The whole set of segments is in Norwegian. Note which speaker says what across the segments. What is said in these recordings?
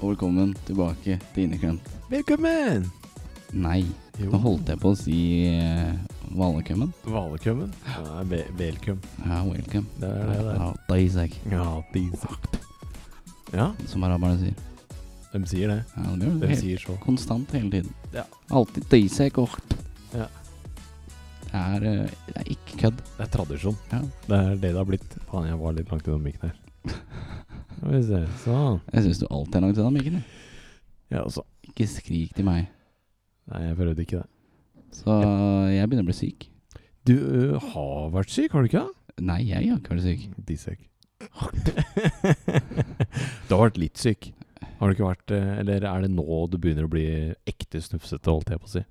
Speaker 1: velkommen tilbake til Inneklemt.
Speaker 2: Velkommen!
Speaker 1: Nei,
Speaker 2: Jo.
Speaker 1: nå holdt jeg på å si eh, Valekømmen.
Speaker 2: Valekømmen? Nei, ve- velkum.
Speaker 1: Ja, welcome.
Speaker 2: Det er det der.
Speaker 1: Ja, da, Isak.
Speaker 2: Ja,
Speaker 1: Vakt,
Speaker 2: Ja,
Speaker 1: Som araberne sier.
Speaker 2: de sier det.
Speaker 1: Ja, det gjør
Speaker 2: De
Speaker 1: det helt
Speaker 2: sier så.
Speaker 1: konstant hele tiden.
Speaker 2: Ja.
Speaker 1: Alltid da, Isak og vakt.
Speaker 2: Ja.
Speaker 1: Det er, eh, det er ikke kødd.
Speaker 2: Det er tradisjon.
Speaker 1: Ja.
Speaker 2: Det er det det har blitt. Faen, jeg var litt langt unna mikken her. Skal vi se. Sånn.
Speaker 1: Jeg syns du alltid er langt unna mikken. du.
Speaker 2: Ja, også.
Speaker 1: Ikke skrik til meg.
Speaker 2: Nei, jeg prøvde ikke det.
Speaker 1: Så jeg begynner å bli syk.
Speaker 2: Du ø, har vært syk, har du ikke det?
Speaker 1: Nei, jeg har ikke vært syk.
Speaker 2: Dissek. du har vært litt syk. Har du ikke vært ø, Eller er det nå du begynner å bli ekte snufsete, holdt jeg på å si?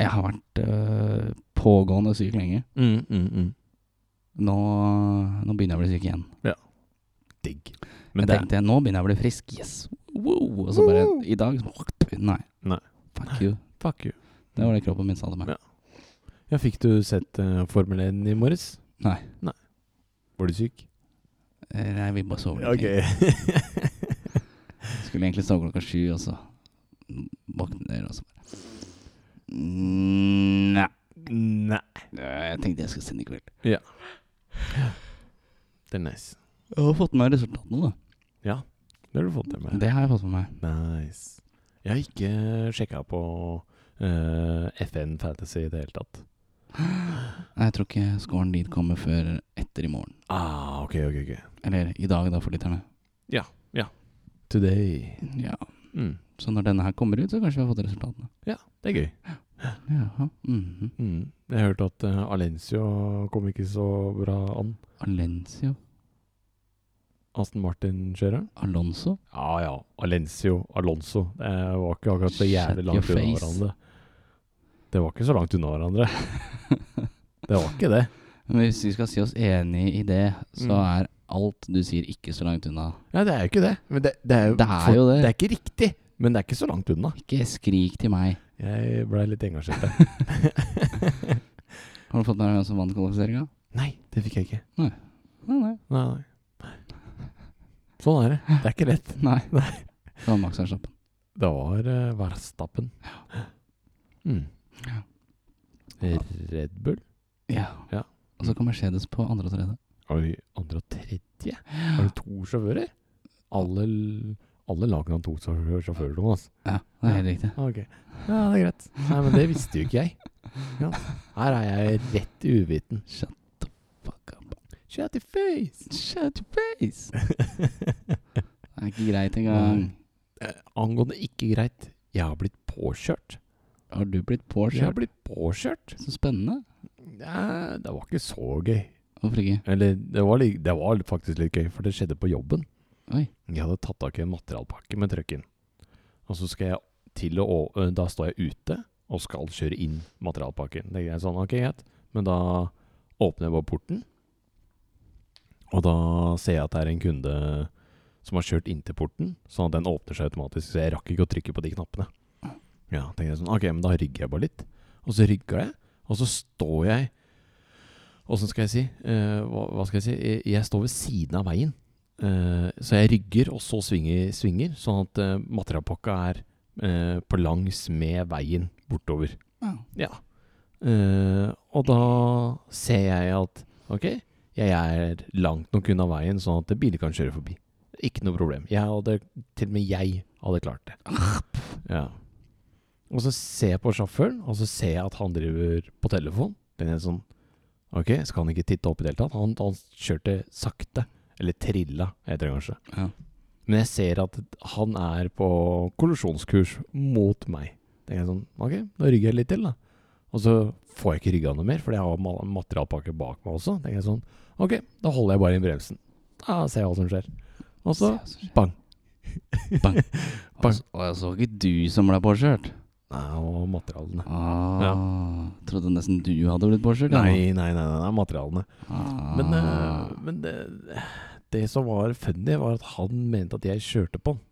Speaker 1: Jeg har vært eh, pågående syk lenge.
Speaker 2: Mm, mm, mm.
Speaker 1: Nå, nå begynner jeg å bli syk igjen.
Speaker 2: Digg.
Speaker 1: Men
Speaker 2: Men
Speaker 1: jeg
Speaker 2: det,
Speaker 1: tenkte nå begynner jeg å bli frisk. Yes! Wow! Og så bare
Speaker 2: Woo!
Speaker 1: I dag så- Nei.
Speaker 2: Nei.
Speaker 1: Fuck you.
Speaker 2: fuck you.
Speaker 1: Det var det kroppen min sa til meg.
Speaker 2: Ja. Ja, fikk du sett eh, Formel 1 i morges?
Speaker 1: Nei.
Speaker 2: Var du syk?
Speaker 1: Eh, Nei, vi bare sover. litt lenger. Skulle egentlig sove klokka sju, og så våkner jeg, og så bare Mm, Nei.
Speaker 2: Nei.
Speaker 1: Eh, Jeg tenkte jeg skulle sende i kveld.
Speaker 2: Det er nice.
Speaker 1: Jeg har fått med meg resultatene,
Speaker 2: Det har du fått til
Speaker 1: da.
Speaker 2: meg.
Speaker 1: Det har jeg fått med meg.
Speaker 2: Nice. Jeg har ikke sjekka på eh, FN Fantasy i det hele tatt.
Speaker 1: Nei, Jeg tror ikke scoren dit kommer før etter i morgen.
Speaker 2: Ah, ok, ok, ok.
Speaker 1: Eller i dag, da, for lytterne.
Speaker 2: Today.
Speaker 1: Ja.
Speaker 2: Mm.
Speaker 1: Så når denne her kommer ut, så kanskje vi har fått resultatene.
Speaker 2: Det er gøy.
Speaker 1: Jaha. mhm.
Speaker 2: Mm. Jeg hørte at eh, Alencio kom ikke så bra an.
Speaker 1: Alencio
Speaker 2: Aston Martin-kjøreren.
Speaker 1: Alonso?
Speaker 2: Ja ja. Alencio Alonso. Det var ikke akkurat så
Speaker 1: Shut
Speaker 2: jævlig langt
Speaker 1: your
Speaker 2: unna
Speaker 1: face.
Speaker 2: hverandre. Det var ikke så langt unna hverandre. det var ikke det.
Speaker 1: Men hvis vi skal si oss enig i det, så er alt du sier ikke så langt unna.
Speaker 2: Ja, det er jo ikke det. Men det, det er jo
Speaker 1: Det er jo det.
Speaker 2: Det er ikke riktig, men det er ikke så langt unna.
Speaker 1: Ikke skrik til meg.
Speaker 2: Jeg blei litt engasjert der.
Speaker 1: Har du fått med deg hvem som vant kvalifiseringa?
Speaker 2: nei, det fikk jeg ikke.
Speaker 1: Nei, nei.
Speaker 2: Nei, nei. Sånn er det. Det er ikke lett.
Speaker 1: nei. Det var Max Verstappen.
Speaker 2: Det var uh, Verstappen. Mm.
Speaker 1: Ja.
Speaker 2: Red Bull.
Speaker 1: Ja.
Speaker 2: Ja.
Speaker 1: Og så kom Mercedes på andre og tredje.
Speaker 2: Oi, andre og tredje? Har du to sjåfører? Alle, alle lagene har to sjåfører, sjåfører Thomas.
Speaker 1: Ja, det er helt riktig.
Speaker 2: Ah, Ok. Ja, det er greit. Nei, men det visste jo ikke jeg. Ja. Her er jeg rett i uviten.
Speaker 1: Shut the fuck up.
Speaker 2: Shut your face!
Speaker 1: Shut your face! Det er ikke greit engang.
Speaker 2: Eh, angående ikke greit, jeg har blitt påkjørt.
Speaker 1: Har du blitt
Speaker 2: Jeg har
Speaker 1: påkjørt?
Speaker 2: blitt påkjørt.
Speaker 1: Så spennende.
Speaker 2: Nei, det var ikke så gøy.
Speaker 1: Hvorfor ikke?
Speaker 2: Eller, det var, li- det var faktisk litt gøy, for det skjedde på jobben.
Speaker 1: Oi.
Speaker 2: Jeg hadde tatt tak i en materialpakke med trucken. Og så skal jeg til å å- ø, Da står jeg ute og skal kjøre inn materialpakken. Det er sånn, ok, greit. Men da åpner jeg bare porten, og da ser jeg at det er en kunde som har kjørt inntil porten, sånn at den åpner seg automatisk. Så jeg rakk ikke å trykke på de knappene. Ja, tenkte jeg sånn, ok, men da rygger jeg bare litt. Og så rygger jeg, og så står jeg Åssen skal jeg si? Eh, hva, hva skal jeg si? Jeg, jeg står ved siden av veien. Eh, så jeg rygger, og så svinger, svinger sånn at uh, materialpakka er eh, på langs med veien bortover.
Speaker 1: Ja.
Speaker 2: Ja. Eh, og da ser jeg at ok, jeg er langt nok unna veien sånn at biler kan kjøre forbi. Ikke noe problem. Jeg hadde, til og med jeg hadde klart det. Ja. Og så ser jeg på sjåføren, og så ser jeg at han driver på telefon. Den er sånn Ok, skal han ikke titte opp i det hele tatt? Han, han kjørte sakte. Eller trilla, heter det kanskje.
Speaker 1: Ja.
Speaker 2: Men jeg ser at han er på kollisjonskurs mot meg. Tenker jeg sånn, ok, da rygger jeg litt til da. Og så får jeg ikke rygga noe mer, for jeg har ma- materialpakke bak meg også. Tenker jeg sånn, ok, da holder jeg bare inn bremsen. Da ser jeg hva som skjer. Og så, bang.
Speaker 1: Bang.
Speaker 2: Bang.
Speaker 1: Og jeg så ikke du som ble påkjørt.
Speaker 2: Nei, og materialene.
Speaker 1: Ah, Trodde nesten du hadde blitt påkjørt. ja.
Speaker 2: Nei, nei, nei, nei, nei materialene.
Speaker 1: Ah.
Speaker 2: Men, eh, men det, det som var funny, var at han mente at jeg kjørte på han.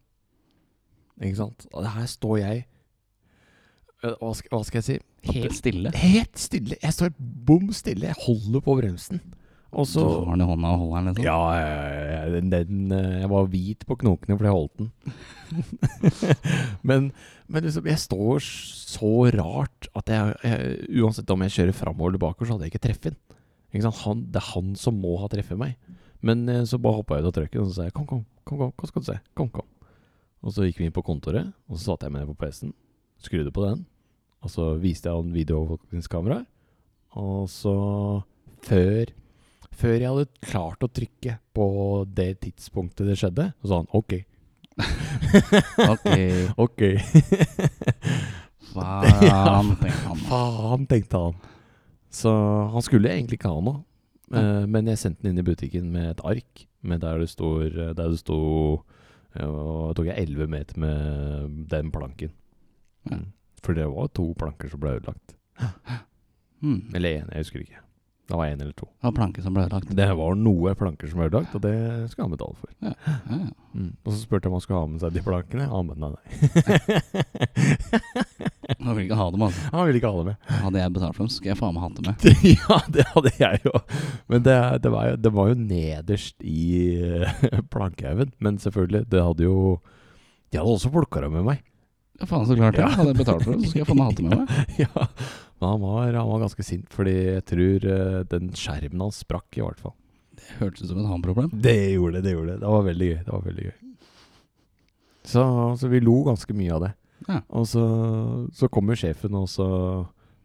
Speaker 2: Ikke sant? Og her står jeg eh, hva skal, hva skal jeg si?
Speaker 1: Helt stille.
Speaker 2: Helt stille. Jeg står bom stille. Jeg holder på bremsen. Og så
Speaker 1: Du har den i hånda og holder den, liksom?
Speaker 2: ja, ja, ja, den, den, eh, jeg var hvit på knokene fordi jeg holdt den. men, men liksom, jeg står så rart at jeg, jeg Uansett om jeg kjører framover eller bakover, så hadde jeg ikke treffet den. Ikke sant? Han, det er han som må ha treffet meg. Men eh, så bare hoppa jeg ut av trøkken og så sa jeg, kom, kom, kom, kom, hva skal du se? Kom, kom. Og så gikk vi inn på kontoret, og så satte jeg meg ned på PC-en, skrudde på den, og så viste jeg han videoovervåkningskameraet, og så før før jeg hadde klart å trykke på det tidspunktet det skjedde, så sa han OK.
Speaker 1: Ok,
Speaker 2: OK.
Speaker 1: faen, tenker han.
Speaker 2: Faen, tenkte han. Så han skulle egentlig ikke ha noe. Eh, men jeg sendte den inn i butikken med et ark med der det står Der det sto eh, Og tok jeg 11 meter med den planken.
Speaker 1: Ja.
Speaker 2: Mm. For det var to planker som ble ødelagt.
Speaker 1: Hmm.
Speaker 2: Eller én, jeg husker ikke. Det var én eller to.
Speaker 1: Det var planke som ble ødelagt.
Speaker 2: Det var noe planker som ble ødelagt, og det skal han betale for.
Speaker 1: Ja, ja.
Speaker 2: Mm. Og så spurte jeg om han skulle ha med seg de plankene. Han men nei, nei.
Speaker 1: Han vil ikke ha dem, altså.
Speaker 2: han ville ikke ha det med.
Speaker 1: Hadde jeg betalt for dem, så skulle jeg faen meg hatt dem med.
Speaker 2: ja, det hadde jeg jo. Men det, det, var, jo, det var jo nederst i eh, plankehaugen. Men selvfølgelig, det hadde jo De hadde også plukka det med meg.
Speaker 1: Ja, faen så klart det.
Speaker 2: Ja.
Speaker 1: Hadde jeg betalt for dem, så skulle jeg faen meg hatt dem med meg.
Speaker 2: ja. Men han var, han var ganske sint, fordi jeg tror eh, den skjermen hans sprakk, i hvert fall.
Speaker 1: Det hørtes ut som et han-problem.
Speaker 2: Det gjorde det, det gjorde det. Det var veldig gøy. det var veldig gøy. Så, så vi lo ganske mye av det.
Speaker 1: Ja.
Speaker 2: Og så, så kom jo sjefen, og så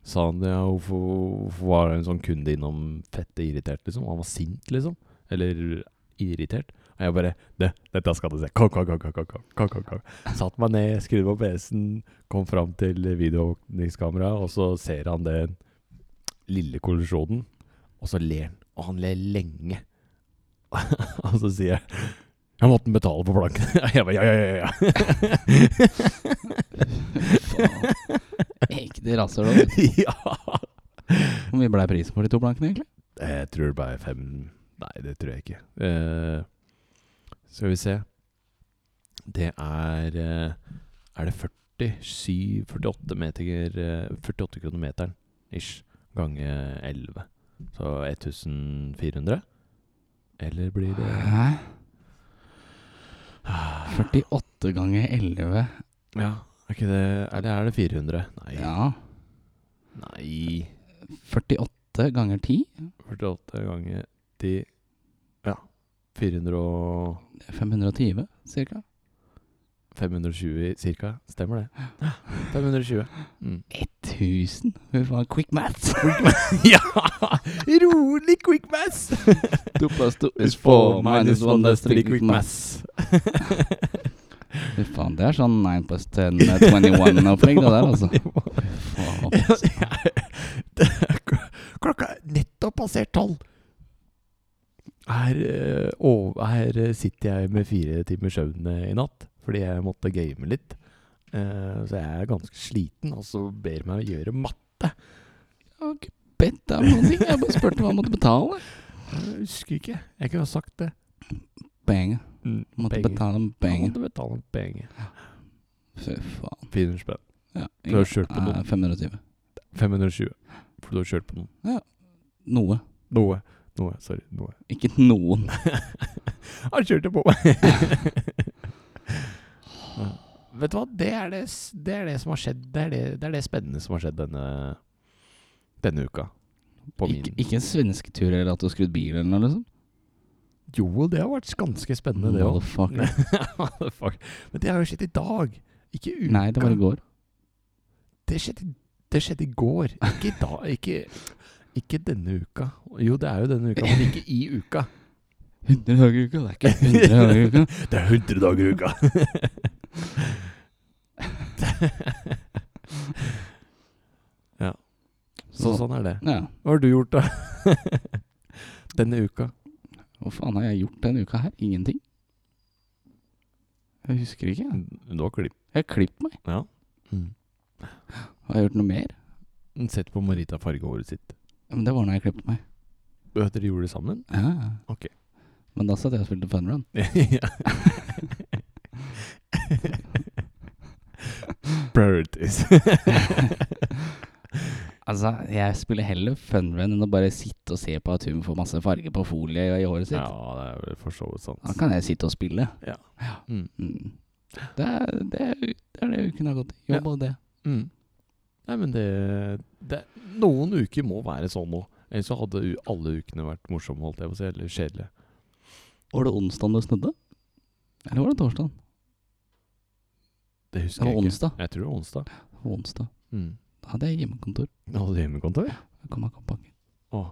Speaker 2: sa han ja, hvorfor, hvorfor var det en sånn kunde innom fette irritert, liksom? Han var sint, liksom. Eller irritert. Og jeg bare Det, dette skal du se. Kom, kom, kom, kom, kom, kom, kom, kom, kom. Satt meg ned, skrudde på PC-en, kom fram til videoovervåkningskameraet, og så ser han den lille kollisjonen, og så ler han. Og han ler lenge. og så sier jeg Jeg måtte betale på planken. jeg bare ja, ja, ja. ja.
Speaker 1: Faen. Ekte rasshøl. altså.
Speaker 2: ja.
Speaker 1: Hvor mye ble prisen for de to plankene, egentlig?
Speaker 2: Jeg tror det bare er fem Nei, det tror jeg ikke. Eh, skal vi se. Det er eh, Er det 47 48 meter eh, 48 kroner meteren ish gange 11. Så 1400? Eller blir det
Speaker 1: Hæ?
Speaker 2: Ah.
Speaker 1: 48 ganger 11
Speaker 2: Ja, er ikke det Eller er det 400? Nei.
Speaker 1: Ja.
Speaker 2: Nei.
Speaker 1: 48 ganger 10
Speaker 2: 48 ganger 10 Ja. 400 og
Speaker 1: 520 cirka.
Speaker 2: 520 cirka. Stemmer det. 520. Mm.
Speaker 1: 1000? Fy faen, quick math!
Speaker 2: ja! Rolig quick mass!
Speaker 1: Two plus two
Speaker 2: It's four minus one that's three quick mass.
Speaker 1: Fy faen, det er sånn 9 plus 10, eh, 21-opplegg, det der, altså. Faen.
Speaker 2: Det er k- Klokka er nettopp passert tolv. Her, eh, ov- her eh, sitter jeg med fire timers søvn eh, i natt, fordi jeg måtte game litt. Eh, så jeg er ganske sliten, og så ber de meg å gjøre matte.
Speaker 1: Jeg har ikke bedt deg om noen ting, jeg bare spurte hva jeg måtte betale.
Speaker 2: Jeg husker ikke. Jeg kunne ha sagt det.
Speaker 1: Penger.
Speaker 2: Mm,
Speaker 1: Måtte
Speaker 2: penger.
Speaker 1: betale med
Speaker 2: Jeg
Speaker 1: penger.
Speaker 2: måtte betale penger.
Speaker 1: Fy faen.
Speaker 2: 400 spenn.
Speaker 1: Ja.
Speaker 2: Du har kjørt på
Speaker 1: Nei,
Speaker 2: noen.
Speaker 1: 520.
Speaker 2: 520. For du har kjørt på noen.
Speaker 1: Noe.
Speaker 2: Noe. Noe. Sorry. Noe.
Speaker 1: Ikke noen.
Speaker 2: Han kjørte på meg! Ja. Vet du hva, det er det, s- det er det som har skjedd. Det er det, det er det spennende som har skjedd denne, denne uka. På min.
Speaker 1: Ikke, ikke en svensketur eller at du har skrudd bil eller noe, liksom.
Speaker 2: Jo, det har vært ganske spennende, det òg.
Speaker 1: Motherfucker.
Speaker 2: Men det har jo skjedd i dag. Ikke uka.
Speaker 1: Nei, det var i går.
Speaker 2: Det skjedde, det skjedde i går. Ikke i dag. Ikke, ikke denne uka. Jo, det er jo denne uka, men ikke i uka.
Speaker 1: 100 dager i uka, det er ikke 100 dager i uka.
Speaker 2: Det er 100 dager i uka! Så sånn er det.
Speaker 1: Ja.
Speaker 2: Hva har du gjort, da? denne uka?
Speaker 1: Hva faen har jeg gjort denne uka her? Ingenting. Jeg husker ikke. jeg.
Speaker 2: Du har klipp.
Speaker 1: Jeg har klippet meg.
Speaker 2: Ja.
Speaker 1: Har jeg gjort noe mer?
Speaker 2: Sett på Marita farge håret sitt.
Speaker 1: Ja, Men det var når jeg klippet meg.
Speaker 2: Vet dere gjorde det sammen?
Speaker 1: Ja. ja.
Speaker 2: Ok.
Speaker 1: Men da satt jeg og spilte fun run.
Speaker 2: Priorities.
Speaker 1: Altså, jeg spiller heller fun run enn å bare sitte og se på at hun får masse farge på folie i håret sitt.
Speaker 2: Ja, det er vel for så vidt sant.
Speaker 1: Da kan jeg sitte og spille.
Speaker 2: Mm.
Speaker 1: Mm. Det, er, det, er, det er det hun kunne ha gått i. Jobb og det.
Speaker 2: Mm. Nei, men det, det Noen uker må være sånn nå. Ellers så hadde u- alle ukene vært morsomme, holdt jeg på å si. Eller kjedelige.
Speaker 1: Var det onsdag det snødde? Eller var det torsdag?
Speaker 2: Det
Speaker 1: Det
Speaker 2: husker
Speaker 1: var
Speaker 2: jeg ikke.
Speaker 1: onsdag.
Speaker 2: Jeg tror det var onsdag.
Speaker 1: Det var onsdag.
Speaker 2: Mm.
Speaker 1: Da hadde jeg hjemmekontor.
Speaker 2: Hadde du hjemmekontor?
Speaker 1: Da kom jeg kompakt.
Speaker 2: Åh.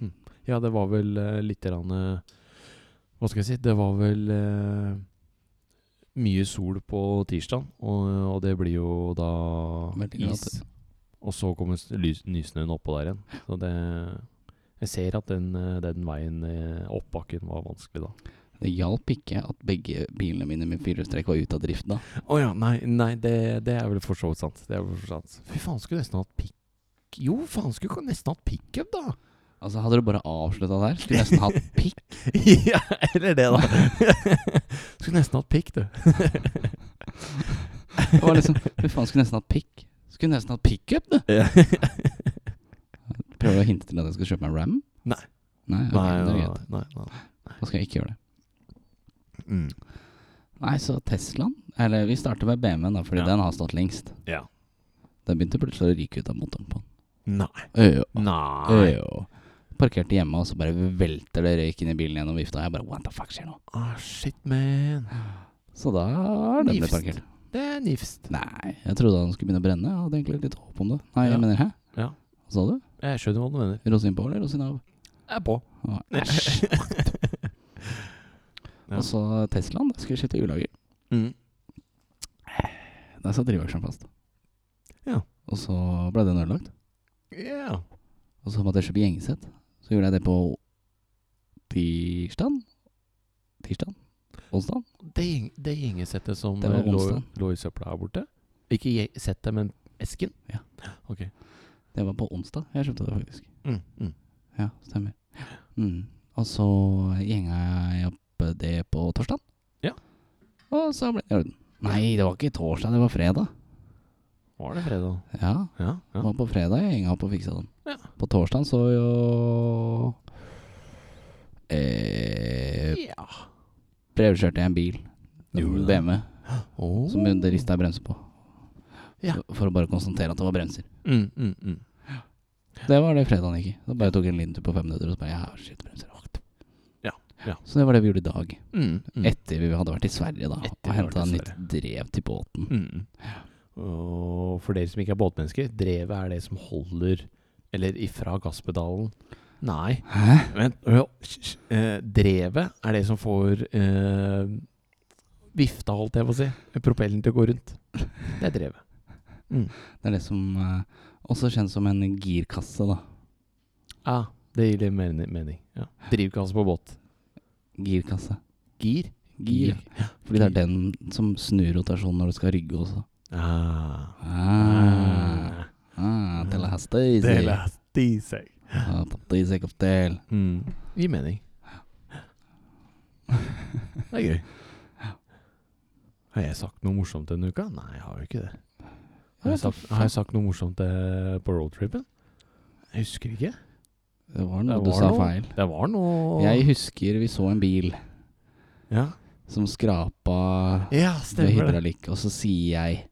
Speaker 2: Hm. Ja, det var vel eh, litt grann, eh, Hva skal jeg si? Det var vel eh, mye sol på tirsdag, og, og det blir jo da
Speaker 1: Veldig glad
Speaker 2: is. Og så kommer s- lys- nysnøen oppå der igjen. Så det Jeg ser at den, eh, den veien eh, opp bakken var vanskelig da.
Speaker 1: Det hjalp ikke at begge bilene mine med firehjulstrekk var ute av drift da.
Speaker 2: Å ja, nei, nei det, det er vel for så vidt sant. Det er vel for så vidt sant. Fy faen, skulle nesten hatt pick... Jo, faen, skulle nesten hatt pickup, da!
Speaker 1: Altså Hadde du bare avslutta der, skulle du nesten hatt pikk.
Speaker 2: ja, eller det, da. Skulle nesten hatt pikk, du.
Speaker 1: Det var liksom Fy faen, skulle nesten hatt pikk. Skulle nesten hatt pickup, du. Prøver du å hinte til at jeg skal kjøpe meg Ram?
Speaker 2: Nei.
Speaker 1: Nei, ok,
Speaker 2: Nei,
Speaker 1: det er
Speaker 2: nei,
Speaker 1: greit.
Speaker 2: nei. nei.
Speaker 1: Da skal jeg ikke gjøre det.
Speaker 2: Mm.
Speaker 1: Nei, så Teslaen Eller vi starter med BMW-en, da, fordi
Speaker 2: Ja.
Speaker 1: den har stått lengst.
Speaker 2: Ja.
Speaker 1: Den begynte plutselig å ryke ut av motoren på den.
Speaker 2: Nei.
Speaker 1: Øyo,
Speaker 2: Nei.
Speaker 1: øyo. Parkerte hjemme, og så bare velter det røyk inn i bilen gjennom vifta. Jeg bare What the fuck skjer nå?
Speaker 2: Ah, shit, man.
Speaker 1: Så da er den blitt
Speaker 2: Nifst.
Speaker 1: parkert.
Speaker 2: Det er nifst.
Speaker 1: Nei, jeg trodde han skulle begynne å brenne. Jeg hadde egentlig litt håp om det. Nei, jeg
Speaker 2: Ja.
Speaker 1: mener hæ?
Speaker 2: Ja.
Speaker 1: Hva sa du?
Speaker 2: Jeg skjønner hva du mener.
Speaker 1: Rosin på eller rosin av?
Speaker 2: Jeg er på.
Speaker 1: Å, Æsj. Og så Teslaen. Da skal vi skifte hjullager.
Speaker 2: Mm.
Speaker 1: Der satt drivaksjen fast.
Speaker 2: Ja.
Speaker 1: Og så ble den ødelagt.
Speaker 2: Ja.
Speaker 1: Og så måtte jeg kjøpe gjengesett. Så gjorde jeg det på tirsdag. Tirsdag? Onsdag?
Speaker 2: Det, gjeng- det gjengesettet som
Speaker 1: Det var
Speaker 2: eh, lå,
Speaker 1: onsdag.
Speaker 2: lå i søpla her borte? Ikke gjeng- settet, men esken?
Speaker 1: Ja.
Speaker 2: Ok.
Speaker 1: Det var på onsdag jeg kjøpte det, faktisk.
Speaker 2: Mm. Mm.
Speaker 1: Ja, stemmer. Mm. Og så gjenga jeg opp det på torsdag.
Speaker 2: Ja.
Speaker 1: Og så ble det i orden. Nei, det var ikke torsdag, det var fredag.
Speaker 2: Var det fredag?
Speaker 1: Ja,
Speaker 2: Ja.
Speaker 1: det
Speaker 2: ja.
Speaker 1: var på fredag jeg gjenga opp og fiksa den.
Speaker 2: Ja.
Speaker 1: På torsdag så jo eh,
Speaker 2: ja.
Speaker 1: Brevkjørte jeg en bil.
Speaker 2: Gjorde du det?
Speaker 1: BMW.
Speaker 2: Oh.
Speaker 1: Som det rista jeg bremser på.
Speaker 2: Ja.
Speaker 1: For- For å bare konstatere at det var bremser.
Speaker 2: Mm, mm, mm.
Speaker 1: Det var det fredagen gikk i. Da bare tok jeg en liten tur på fem minutter og så bare ja, shit, bremser.
Speaker 2: Ja, ja.
Speaker 1: Så det var det vi gjorde i dag.
Speaker 2: Mm, mm.
Speaker 1: Etter vi hadde vært i Sverige, da.
Speaker 2: Etter vi
Speaker 1: og
Speaker 2: hadde
Speaker 1: henta
Speaker 2: vært i
Speaker 1: nytt drev til båten.
Speaker 2: Mm. Og for dere som ikke er båtmennesker, drevet er det som holder Eller ifra gasspedalen. Nei,
Speaker 1: Hæ?
Speaker 2: vent. hør, hysj, hysj. Eh, drevet er det som får eh, vifta, holdt jeg på å si. Propellen til å gå rundt. Det er drevet. Mm.
Speaker 1: Det er det som eh, også kjennes som en girkasse, da.
Speaker 2: Ah, det gir litt mer mening. Ja. Drivkasse på båt.
Speaker 1: Girkasse.
Speaker 2: Gir.
Speaker 1: Fordi det er den som snur rotasjonen når du skal rygge også.
Speaker 2: Ah.
Speaker 1: Ah, ah, Tallahassee.
Speaker 2: Det lærte de seg.
Speaker 1: Ah, Tallahassee cocktail.
Speaker 2: Mm. Gir mening. Det er gøy. Har jeg sagt noe morsomt denne uka? Nei, jeg har jo ikke det. Har jeg sagt, har jeg sagt noe morsomt eh, på roadtripen? Jeg husker ikke.
Speaker 1: Det var
Speaker 2: Det
Speaker 1: noe du
Speaker 2: var
Speaker 1: sa
Speaker 2: noe.
Speaker 1: feil.
Speaker 2: Det var noe
Speaker 1: Jeg husker vi så en bil
Speaker 2: Ja,
Speaker 1: som skrapa
Speaker 2: ja
Speaker 1: ved
Speaker 2: stemmer det.
Speaker 1: hydraulikk, og så sier jeg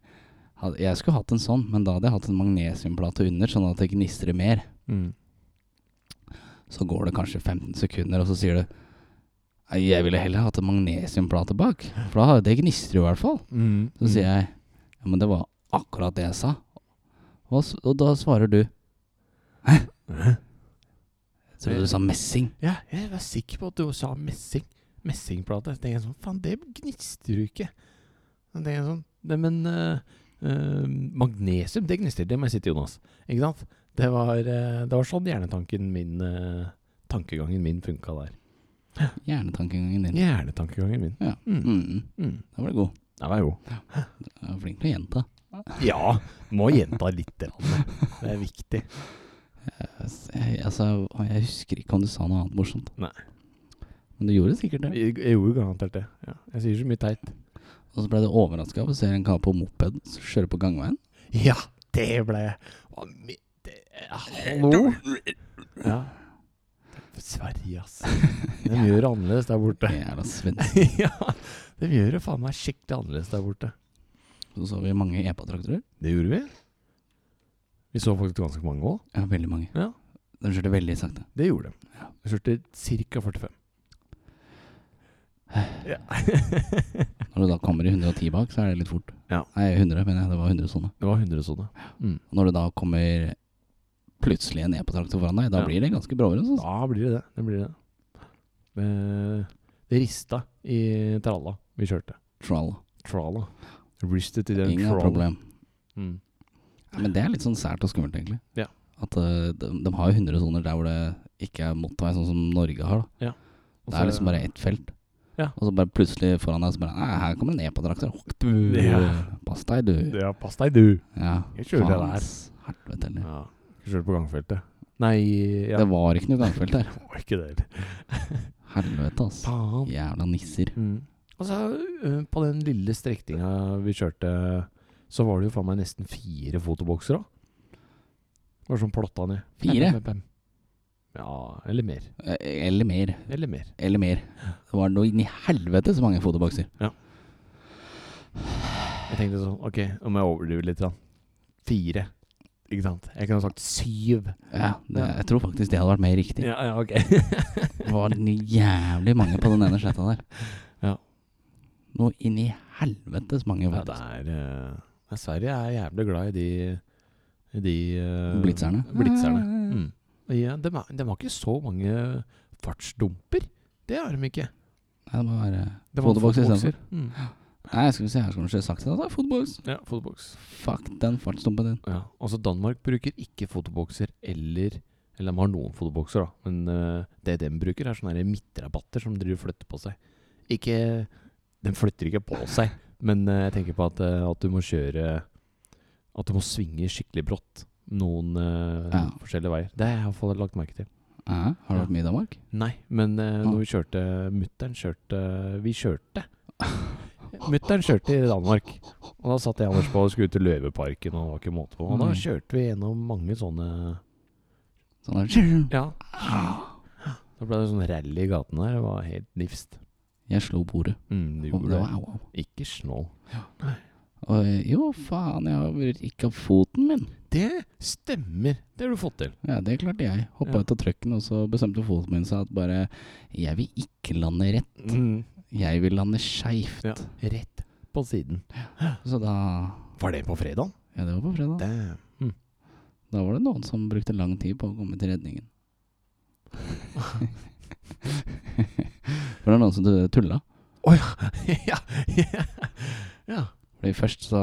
Speaker 1: had- Jeg skulle hatt en sånn, men da hadde jeg hatt en magnesiumplate under, sånn at det gnistrer mer.
Speaker 2: Mm.
Speaker 1: Så går det kanskje 15 sekunder, og så sier du Nei, jeg ville heller hatt en magnesiumplate bak, for da har- det gnistrer jo i hvert fall.
Speaker 2: Mm.
Speaker 1: Så sier jeg Ja, men det var akkurat det jeg sa. Og, s- og da svarer du
Speaker 2: Hæ?
Speaker 1: Jeg trodde du sa messing.
Speaker 2: Ja, jeg var sikker på at du sa messing. Messingplate. Så tenkte jeg sånn Faen, det gnistrer jo ikke. Så tenkte jeg sånn Nei, men eh, eh, magnesium, det gnistrer. Det må jeg si til Jonas. Ikke sant? Det var, eh, det var sånn hjernetanken min eh, Tankegangen min funka der.
Speaker 1: Hjernetankegangen din.
Speaker 2: Hjernetankegangen min.
Speaker 1: Ja.
Speaker 2: Mm.
Speaker 1: Mm,
Speaker 2: Mm.
Speaker 1: da var det god.
Speaker 2: Det var jo
Speaker 1: Du er flink til å gjenta.
Speaker 2: Ja, må gjenta litt. grann. Det er viktig.
Speaker 1: Jeg, altså, jeg husker ikke om du sa noe annet morsomt.
Speaker 2: Nei.
Speaker 1: Men du gjorde sikkert det.
Speaker 2: Jeg, jeg gjorde garantert det. Ja. Jeg sier så mye teit.
Speaker 1: Og så ble du overraska over å se en kar på moped som kjører på gangveien.
Speaker 2: Ja, det ble jeg Hva me- det- Hallo? Ja. Sverige, ass. De gjør det annerledes der borte.
Speaker 1: Jævla svensk.
Speaker 2: ja, de gjør det faen meg skikkelig annerledes der borte.
Speaker 1: Så så vi mange EPA-traktorer.
Speaker 2: Det gjorde vi. Vi så faktisk ganske mange òg.
Speaker 1: Ja, veldig mange.
Speaker 2: Ja.
Speaker 1: De kjørte veldig sakte.
Speaker 2: Det gjorde de. Vi kjørte ca. 45. Ja.
Speaker 1: Når du da kommer i 110 bak, så er det litt fort.
Speaker 2: Ja.
Speaker 1: Nei, 100, mener jeg. Det var 100 sånne.
Speaker 2: det var 100-sone. Mm.
Speaker 1: Og når det da kommer plutselig en EPA-traktor foran deg, da
Speaker 2: Ja.
Speaker 1: blir det ganske bråere. Altså.
Speaker 2: Da blir det det. Det blir det. Eh, Det rista i tralla vi kjørte.
Speaker 1: Troll.
Speaker 2: Tralla. Ristet i den
Speaker 1: Ingen
Speaker 2: tralla.
Speaker 1: problem.
Speaker 2: Mm.
Speaker 1: Ja, men det er litt sånn sært og skummelt, egentlig.
Speaker 2: Ja.
Speaker 1: At eh, de, de har jo 100 soner der hvor det ikke er motorvei, sånn som Norge har. da
Speaker 2: Og
Speaker 1: Det
Speaker 2: så-
Speaker 1: er liksom bare ett felt.
Speaker 2: Ja.
Speaker 1: Og så bare plutselig foran deg så bare Nei, her kommer en EPA-traktor. Hok, du.
Speaker 2: Ja.
Speaker 1: Pass deg, du.
Speaker 2: Ja, pass deg, du.
Speaker 1: Ja.
Speaker 2: Jeg kjører det
Speaker 1: Faen,
Speaker 2: der.
Speaker 1: ass. Helvete heller.
Speaker 2: Ja. Kjørte på gangfeltet. Nei ja.
Speaker 1: Det var ikke noe gangfelt der.
Speaker 2: var ikke det heller.
Speaker 1: Helvete, ass.
Speaker 2: Faen.
Speaker 1: Jævla nisser.
Speaker 2: Mm. Og så eh, på den lille strekninga vi kjørte, så var det jo faen meg nesten fire fotobokser òg. Var sånn plotta ned.
Speaker 1: Fire?
Speaker 2: Pem, pem, pem. Ja, eller mer.
Speaker 1: Eh, Eller mer.
Speaker 2: Eller mer.
Speaker 1: Eller mer. Det var noe inn i helvete så mange fotobokser.
Speaker 2: Jeg tenkte sånn, ok, nå må jeg overdrive litt. Da. Fire. Ikke sant? Jeg kunne sagt syv.
Speaker 1: Ja, det,
Speaker 2: Ja.
Speaker 1: jeg tror faktisk det hadde vært mer riktig.
Speaker 2: Ja, ja, ok.
Speaker 1: Det var noe jævlig mange på den ene sletta der.
Speaker 2: Ja.
Speaker 1: Noe inn i helvetes mange
Speaker 2: Ja,
Speaker 1: var
Speaker 2: det
Speaker 1: det.
Speaker 2: er eh, ja, Sverige er jævlig glad i de, i de eh,
Speaker 1: Blitzerne.
Speaker 2: blitzerne. Mm. Ja, de, er- de har ikke så mange fartsdumper. Det har de ikke.
Speaker 1: Nei, det må være
Speaker 2: De har
Speaker 1: Fotobokser
Speaker 2: fotobokser.
Speaker 1: istedenfor.
Speaker 2: Mm.
Speaker 1: Nei, jeg skulle si, jeg skulle ikke sagt det. da, Fotboks.
Speaker 2: Ja, fotoboks.
Speaker 1: Fuck den fartsdumpen din.
Speaker 2: Ja. Altså, Danmark bruker ikke fotobokser eller Eller de har noen fotobokser, da. Men eh, det de bruker, er sånne her midtrabatter som driver og flytter på seg. Ikke De flytter ikke på seg, men eh, jeg tenker på at, eh, at du må kjøre At du må svinge skikkelig brått noen eh,
Speaker 1: Ja.
Speaker 2: forskjellige veier. Det har jeg i hvert fall lagt merke til.
Speaker 1: Ja, har du vært mye i Danmark?
Speaker 2: Nei, men
Speaker 1: Ah.
Speaker 2: eh, når vi kjørte Mutter'n kjørte Vi kjørte. Mutter'n kjørte i Danmark. Og da satt jeg og Anders på og skulle ut i Løveparken, og det var ikke måte på. Og da
Speaker 1: Mm.
Speaker 2: kjørte vi gjennom mange sånne
Speaker 1: Sånn der.
Speaker 2: Ja. Da ble det sånn rally i gaten her. Det var helt nifst.
Speaker 1: Jeg slo bordet.
Speaker 2: Mm, det
Speaker 1: Og
Speaker 2: gjorde
Speaker 1: det
Speaker 2: det.
Speaker 1: var au, au.
Speaker 2: Ikke snå.
Speaker 1: Og, eh, jo, faen, jeg har ikke foten min.
Speaker 2: Det stemmer. Det har du fått til.
Speaker 1: Ja, det klarte jeg. Hoppa
Speaker 2: Ja.
Speaker 1: ut av trucken, og så bestemte foten min seg at bare Jeg vil ikke lande rett,
Speaker 2: Mm.
Speaker 1: jeg vil lande skeivt.
Speaker 2: Ja. Rett på siden.
Speaker 1: Så da
Speaker 2: Var det på fredag?
Speaker 1: Ja, det var på fredag.
Speaker 2: Damn. Mm.
Speaker 1: Da var det noen som brukte lang tid på å komme til redningen. For det er noen som tulla.
Speaker 2: ja. ja. ja.
Speaker 1: Fordi først så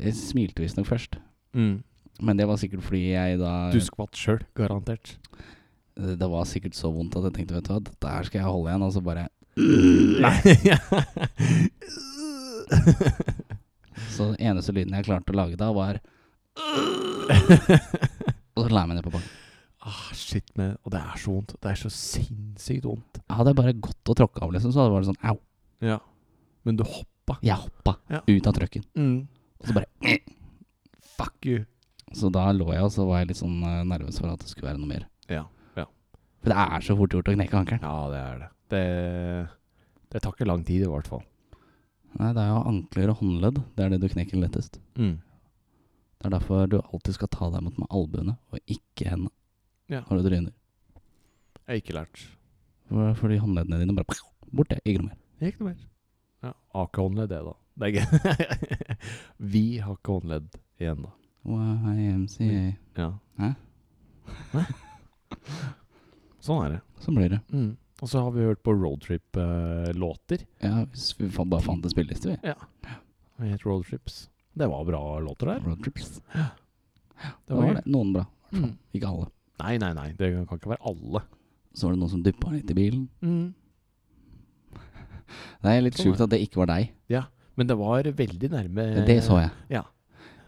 Speaker 1: Jeg smilte visstnok først.
Speaker 2: Mm.
Speaker 1: Men det var sikkert fordi jeg da
Speaker 2: Du skvatt sjøl, garantert.
Speaker 1: Det var sikkert så vondt at jeg tenkte vet du hva, dette her skal jeg holde igjen. Og så bare
Speaker 2: Nei.
Speaker 1: Så den eneste lyden jeg klarte å lage da, var Og så la jeg meg ned på bakken.
Speaker 2: ah, shit, men Og det er så vondt. Det er så sinnssykt vondt.
Speaker 1: Hadde jeg bare gått og tråkka av, liksom, så hadde det vært sånn au.
Speaker 2: Ja. Men du hoppa.
Speaker 1: Jeg hoppa
Speaker 2: Ja.
Speaker 1: ut av trucken.
Speaker 2: Mm.
Speaker 1: Og så bare
Speaker 2: Fuck you.
Speaker 1: Så da lå jeg, og så var jeg litt sånn eh, nervøs for at det skulle være noe mer.
Speaker 2: Ja.
Speaker 1: For det er så fort gjort å knekke ankelen.
Speaker 2: ja, det er det. Det, det tar ikke lang tid, i hvert fall.
Speaker 1: Nei, det er jo ankler og håndledd. Det er det du knekker lettest.
Speaker 2: Mm.
Speaker 1: Det er derfor du alltid skal ta deg mot med albuene, og ikke hendene.
Speaker 2: Ja.
Speaker 1: Når du tryner.
Speaker 2: Jeg har ikke lært.
Speaker 1: For- Fordi håndleddene dine bare borte. Ikke noe mer.
Speaker 2: Det er ikke noe mer. Ja, Har ikke håndledd, det, da. Det er ikke Vi har ikke håndledd igjen, da.
Speaker 1: YMCA.
Speaker 2: Ja.
Speaker 1: Hæ?
Speaker 2: Sånn er det.
Speaker 1: Sånn blir det.
Speaker 2: Og så har vi hørt på eh, roadtrip-låter.
Speaker 1: Ja, hvis vi fa- bare fant en spilleliste, vi.
Speaker 2: Vi het Roadtrips. Det var bra låter der.
Speaker 1: Roadtrips.
Speaker 2: Det
Speaker 1: Det
Speaker 2: var
Speaker 1: var
Speaker 2: gøy.
Speaker 1: det. Noen bra.
Speaker 2: Mm.
Speaker 1: Ikke alle.
Speaker 2: Nei, nei, nei. Det kan ikke være alle.
Speaker 1: Så var det noen som dyppa litt i bilen. Det er litt
Speaker 2: Sånn er
Speaker 1: sjukt at det ikke var deg.
Speaker 2: Men det var veldig nærme
Speaker 1: Det så jeg.
Speaker 2: ja.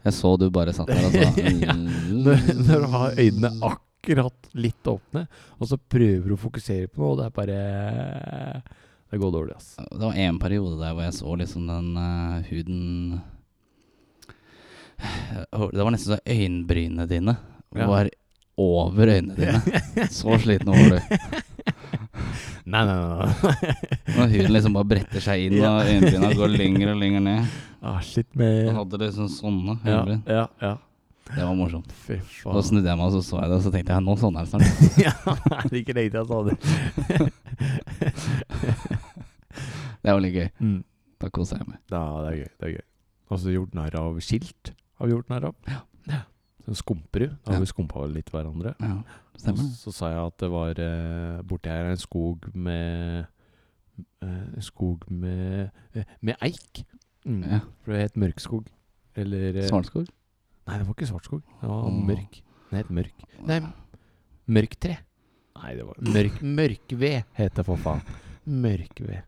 Speaker 1: Jeg så du bare satt der og sa mm,
Speaker 2: Ja. Når, når du har øynene akkurat litt åpne, og så prøver du å fokusere på noe, og det er bare Det går dårlig, ass.
Speaker 1: Det var en periode der hvor jeg så liksom den eh, huden Åh, Det var nesten så øyenbrynene dine
Speaker 2: Ja.
Speaker 1: var over øynene dine. Så sliten var du.
Speaker 2: Nei, nei, nei. nei.
Speaker 1: Når huden liksom bare bretter seg inn,
Speaker 2: Ja.
Speaker 1: og øyenbryna går lenger og lenger ned.
Speaker 2: ah, shit
Speaker 1: Da
Speaker 2: med
Speaker 1: hadde det liksom sånne
Speaker 2: ja,
Speaker 1: øyenbryn.
Speaker 2: ja, ja.
Speaker 1: Det var morsomt.
Speaker 2: Fy
Speaker 1: Da
Speaker 2: faen.
Speaker 1: snudde jeg meg og så så jeg det, og så tenkte jeg nå sånn er det snart.
Speaker 2: ja, er det ikke lenge til jeg sa det?
Speaker 1: Det var litt gøy.
Speaker 2: Mm.
Speaker 1: Da koser jeg meg.
Speaker 2: Ja, det er gøy. det er gøy. Og så gjort narr av skilt. Har vi gjort narr av. Ja. Så Skumperud. Da
Speaker 1: Ja.
Speaker 2: har vi skumpa litt hverandre.
Speaker 1: Ja,
Speaker 2: Og
Speaker 1: stemmer det.
Speaker 2: så sa jeg at det var eh, borti her er en skog med eh, En skog med eh, med eik. Mm.
Speaker 1: Ja.
Speaker 2: For det het mørkskog. Eller eh,
Speaker 1: Svartskog?
Speaker 2: Nei, det var ikke svartskog. Det var
Speaker 1: Åh.
Speaker 2: mørk. Det het mørk. Nei, mørktre. Nei, det var mørk, Mørkved heter det, for faen. Mørkved.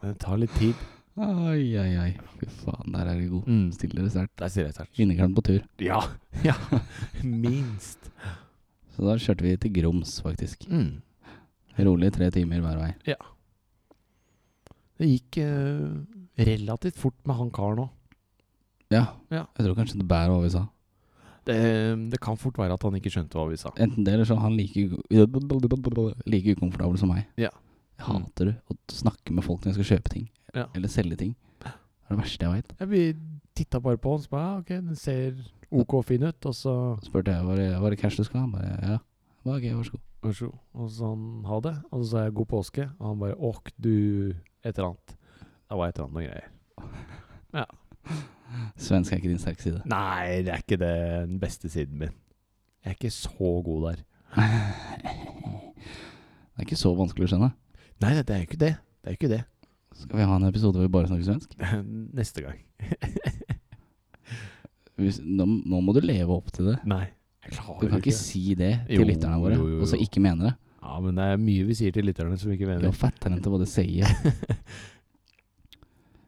Speaker 2: Men Det tar litt tid.
Speaker 1: Oi, oi, oi. Fy faen, der er du god.
Speaker 2: Mm.
Speaker 1: Stiller det sterkt.
Speaker 2: Der sier jeg sterkt.
Speaker 1: Inneklemt på tur.
Speaker 2: Ja. ja. Minst.
Speaker 1: Så da kjørte vi til Grums, faktisk.
Speaker 2: Mm.
Speaker 1: Rolig tre timer hver vei.
Speaker 2: Det gikk eh, relativt fort med han karen òg.
Speaker 1: Ja.
Speaker 2: Ja.
Speaker 1: Jeg tror kanskje det bærer hva vi sa.
Speaker 2: Det, det kan fort være at han ikke skjønte hva vi sa.
Speaker 1: Enten det, eller så er han like, u- like ukomfortabel som meg.
Speaker 2: Ja.
Speaker 1: Jeg hater det, å snakke med folk når jeg skal kjøpe ting.
Speaker 2: Ja.
Speaker 1: Eller selge ting. Det er det verste jeg veit.
Speaker 2: Ja, vi titta bare på han og så bare ja, OK, den ser OK fin ut, og så
Speaker 1: Spurte jeg var det, var det cash du skulle ha. Han bare ja. Jeg bare, ok, vær så god.
Speaker 2: Vær så god. Og så sa han ha det. Og så sa jeg god påske. Og han bare åk, du Et eller annet. Det var et eller annet noe greier.
Speaker 1: Svensk er ikke din sterke side.
Speaker 2: Nei, det er ikke det den beste siden min. Jeg er ikke så god der.
Speaker 1: Det er ikke så vanskelig å skjønne.
Speaker 2: Nei, det er jo ikke det. Det er jo ikke det.
Speaker 1: Skal vi ha en episode hvor vi bare snakker svensk?
Speaker 2: Neste gang.
Speaker 1: Hvis, nå, nå må du leve opp til det.
Speaker 2: Nei. Jeg
Speaker 1: Du
Speaker 2: klarer
Speaker 1: kan ikke
Speaker 2: ikke.
Speaker 1: si det
Speaker 2: Jo,
Speaker 1: til lytterne våre,
Speaker 2: jo, jo, jo.
Speaker 1: og så ikke mene det.
Speaker 2: Ja, men det er mye vi sier til lytterne som vi ikke
Speaker 1: Jag
Speaker 2: mener.
Speaker 1: fattar inte vad du säger,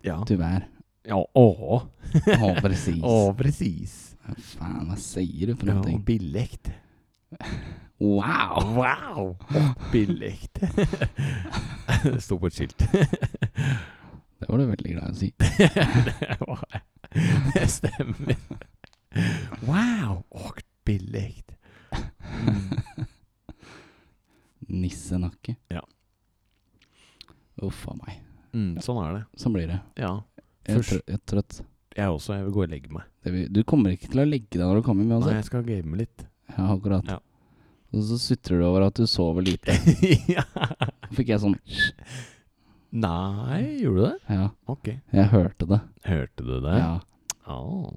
Speaker 2: Ja.
Speaker 1: tyvärr.
Speaker 2: ja å.
Speaker 1: Ja, precis.
Speaker 2: Å, presis.
Speaker 1: Fan, vad säger du för
Speaker 2: Ja,
Speaker 1: någonting?
Speaker 2: billig.
Speaker 1: Wow!
Speaker 2: Wow! Billig. det sto på et skilt.
Speaker 1: Det var du väldigt glad att se.
Speaker 2: det var jeg. Det stemmer. Wow! Mm. Og billig.
Speaker 1: Nisse Nacke.
Speaker 2: Ja.
Speaker 1: Uff a mig.
Speaker 2: Sånn er det.
Speaker 1: Så blir det.
Speaker 2: Ja.
Speaker 1: Jag är,
Speaker 2: Först-
Speaker 1: trött, jag är trött.
Speaker 2: Jeg også. Jeg vil gå og legge meg.
Speaker 1: Det blir- Du kommer ikke til å legge deg når du kommer med
Speaker 2: Nei,
Speaker 1: oss.
Speaker 2: jeg skal game litt.
Speaker 1: Ja, akkurat.
Speaker 2: Ja.
Speaker 1: Og så sutrer du over at du sover lite.
Speaker 2: ja.
Speaker 1: Da fikk jeg sånn
Speaker 2: Nei, gjorde du det?
Speaker 1: Ja,
Speaker 2: Ok.
Speaker 1: jeg hørte det.
Speaker 2: Hørte du det?
Speaker 1: Ja.
Speaker 2: Ah,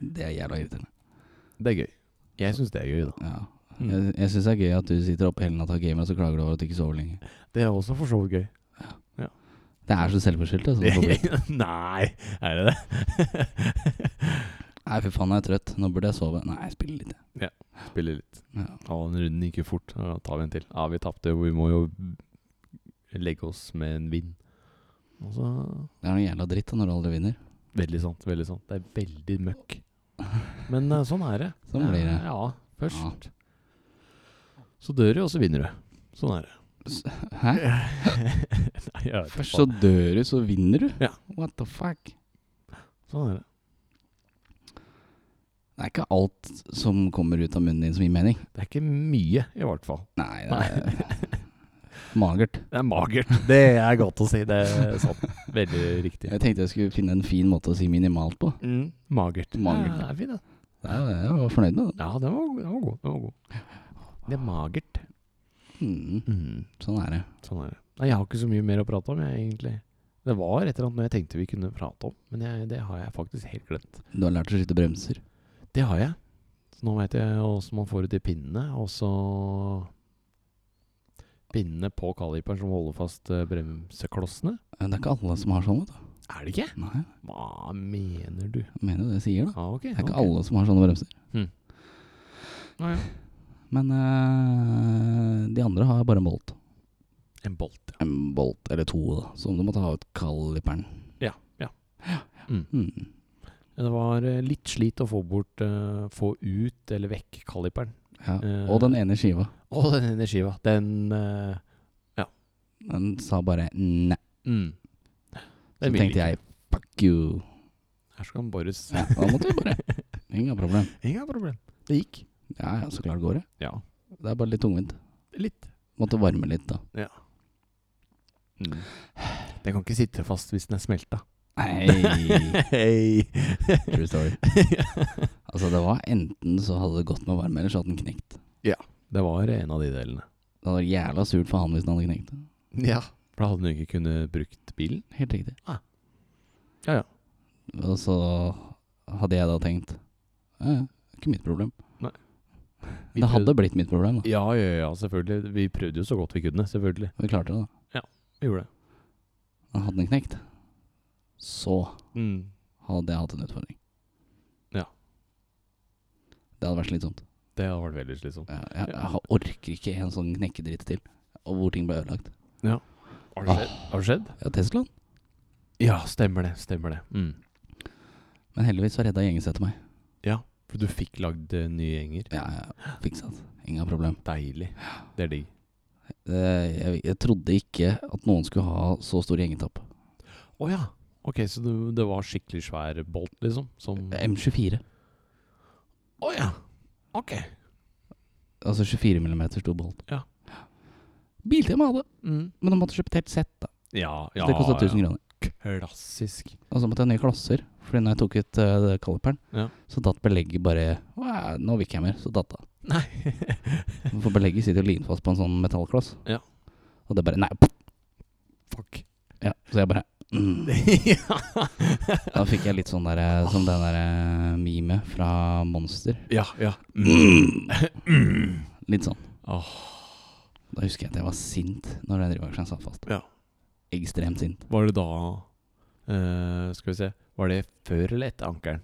Speaker 1: Det er jævla irriterende.
Speaker 2: Det er gøy. Jeg syns det er gøy, da.
Speaker 1: Ja.
Speaker 2: Mm.
Speaker 1: Jeg, jeg syns det er gøy at du sitter oppe hele natta og gamer, og så klager du over at du ikke sover lenge.
Speaker 2: Det er også for så vidt gøy.
Speaker 1: Det er så selvforskyldt. Altså, å sove lite.
Speaker 2: Nei, er det det?
Speaker 1: Nei, fy faen, jeg er trøtt. Nå burde jeg sove. Nei, jeg spiller litt. jeg.
Speaker 2: Spiller litt.
Speaker 1: Ja.
Speaker 2: Å, den runden gikk jo fort. Ja, Da tar vi en til. Ja, vi tapte. Vi må jo legge oss med en vinn. Og så
Speaker 1: Det er noe jævla dritt da, når du aldri vinner.
Speaker 2: Veldig sant. veldig sant Det er veldig møkk. Men eh, sånn er det.
Speaker 1: Sånn blir det.
Speaker 2: Ja, Først så dør du, og så vinner du. Sånn er det.
Speaker 1: Hæ?
Speaker 2: Nei, jeg vet
Speaker 1: Først
Speaker 2: ikke
Speaker 1: så dør du, så vinner du?
Speaker 2: Ja.
Speaker 1: What the fuck?
Speaker 2: faen. Sånn er det.
Speaker 1: Det er ikke alt som kommer ut av munnen din som gir mening.
Speaker 2: Det er ikke mye, i hvert fall.
Speaker 1: Nei, det er magert.
Speaker 2: Det er magert. Det er godt å si. Det er sant. Veldig riktig.
Speaker 1: Jeg tenkte jeg skulle finne en fin måte å si minimalt på.
Speaker 2: Mm, magert.
Speaker 1: Magert.
Speaker 2: Ja, det er fint, det.
Speaker 1: Det er- Jeg var fornøyd med det.
Speaker 2: Ja, den var, den var god. Den var god. Det er magert.
Speaker 1: Mm,
Speaker 2: Mm,
Speaker 1: sånn er det.
Speaker 2: sånn er det. Nei, jeg har ikke så mye mer å prate om, jeg, egentlig. Det var et eller annet jeg tenkte vi kunne prate om, men jeg, det har jeg faktisk helt glemt.
Speaker 1: Du har lært å skyte bremser.
Speaker 2: Det har jeg. Så nå veit jeg åssen man får ut de pinnene, og så Pinnene på kaliperen som holder fast eh, bremseklossene.
Speaker 1: Men Det er ikke alle som har sånn, vet du.
Speaker 2: Er det ikke?
Speaker 1: Nei,
Speaker 2: Hva mener du?
Speaker 1: jeg mener jo det jeg sier, da.
Speaker 2: Ja, ok.
Speaker 1: Det er ikke
Speaker 2: ok. Hmm.
Speaker 1: alle som har sånne bremser.
Speaker 2: Ja, ja.
Speaker 1: Men eh, de andre har bare en bolt.
Speaker 2: En bolt, ja.
Speaker 1: en bolt eller to, da, som du må ta ut kaliperen.
Speaker 2: Ja, ja. Mm.
Speaker 1: Mm.
Speaker 2: Ja, Det var eh, litt slit å få bort eh, Få ut eller vekk kaliperen.
Speaker 1: ja.
Speaker 2: Eh,
Speaker 1: Og den ene skiva,
Speaker 2: Og den ene skiva. Den eh,
Speaker 1: den sa bare nei.
Speaker 2: mm.
Speaker 1: Så
Speaker 2: Den vil
Speaker 1: tenkte
Speaker 2: ikke.
Speaker 1: jeg fuck you.
Speaker 2: Her skal han bores.
Speaker 1: Ja, da måtte vi bare. Ingen problem.
Speaker 2: Ingen problem. Det gikk.
Speaker 1: Ja, ja, så klart går det.
Speaker 2: Ja.
Speaker 1: Det er bare litt tungvint.
Speaker 2: Litt.
Speaker 1: Måtte varme litt, da.
Speaker 2: Hmm. Den kan ikke sitte fast hvis den er smelta.
Speaker 1: Nei,
Speaker 2: Hei.
Speaker 1: true story. Altså, det var enten så hadde det gått med varme, eller så hadde den knekt.
Speaker 2: Det var en av de delene.
Speaker 1: Det hadde vært jævla surt for han hvis den hadde knekt.
Speaker 2: Ja. For da hadde hun ikke kunnet brukt bilen.
Speaker 1: Helt riktig.
Speaker 2: Ah. Ja, ja.
Speaker 1: Og så hadde jeg da tenkt Ja, ja, det er ikke mitt problem.
Speaker 2: Nei. Vi
Speaker 1: Det hadde
Speaker 2: prøvde-
Speaker 1: blitt mitt problem, da.
Speaker 2: Ja, ja, ja, selvfølgelig. Vi prøvde jo så godt vi kunne, selvfølgelig.
Speaker 1: Vi klarte det, da.
Speaker 2: Vi gjorde det.
Speaker 1: Men hadde den knekt, så
Speaker 2: Mm.
Speaker 1: hadde jeg hatt en utfordring.
Speaker 2: Ja.
Speaker 1: Det hadde vært slitsomt.
Speaker 2: Det hadde vært veldig slitsomt.
Speaker 1: Jeg, jeg, jeg har- orker ikke en sånn knekkedritt til. Og hvor ting ble ødelagt.
Speaker 2: Har det skjedd? Har det skjedd?
Speaker 1: Ja, Teslaen.
Speaker 2: Ja, stemmer det. Stemmer det. Mm.
Speaker 1: Men heldigvis så redda gjengen seg til meg.
Speaker 2: Ja, for du fikk lagd eh, nye gjenger.
Speaker 1: Ja, ja, fiksa det. Ingen problem.
Speaker 2: Deilig. Det er digg.
Speaker 1: Det, Eh, jeg, jeg trodde ikke at noen skulle ha så stor gjengetapp.
Speaker 2: Å ja. Ok, så det, det var skikkelig svær bolt, liksom? Som Å
Speaker 1: M24.
Speaker 2: ja. Ok.
Speaker 1: Altså 24 millimeter stor bolt.
Speaker 2: Ja.
Speaker 1: Biltema hadde,
Speaker 2: Mm.
Speaker 1: men de måtte kjøpt helt sett. da
Speaker 2: Ja, ja.
Speaker 1: Det kosta 1000
Speaker 2: ja.
Speaker 1: kroner.
Speaker 2: Klassisk.
Speaker 1: Og så måtte jeg ha nye klosser, fordi når jeg tok ut eh, det kaliperen,
Speaker 2: Ja.
Speaker 1: så datt belegget bare «Åh, Nå vil ikke jeg mer, så datt det.
Speaker 2: Nei.
Speaker 1: For belegget sitter jo linfast på en sånn metallkloss.
Speaker 2: Ja.
Speaker 1: Og det bare Nei.
Speaker 2: Fuck.
Speaker 1: Ja, så jeg bare mm. Da fikk jeg litt sånn der eh, som den der eh, meme fra Monster.
Speaker 2: ja, ja. Mm.
Speaker 1: Litt sånn.
Speaker 2: Åh.
Speaker 1: Da husker jeg at jeg var sint når den drivaksen satt fast.
Speaker 2: Ja.
Speaker 1: Ekstremt sint.
Speaker 2: Var det da eh, Skal vi se. Var det før eller etter ankelen?